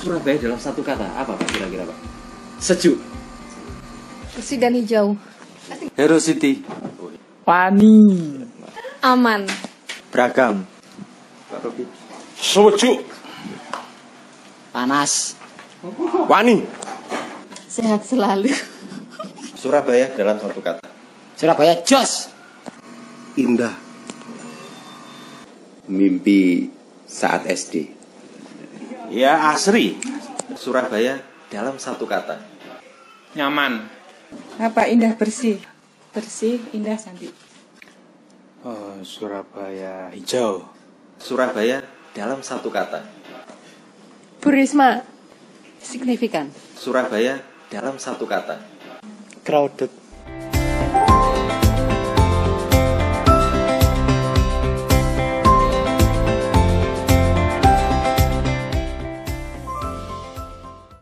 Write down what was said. Surabaya dalam satu kata apa Pak kira-kira Pak? Sejuk. bersih dan hijau Hero City, Pani, aman Beragam, Sejuk. panas, Wani. sehat selalu Surabaya dalam satu kata. Surabaya jos, Indah. Mimpi saat SD. Ya asri. Surabaya dalam satu kata. Nyaman. Apa indah bersih? Bersih, indah, cantik. Surabaya hijau. Surabaya dalam satu kata. Burisma signifikan Surabaya dalam satu kata. crowded,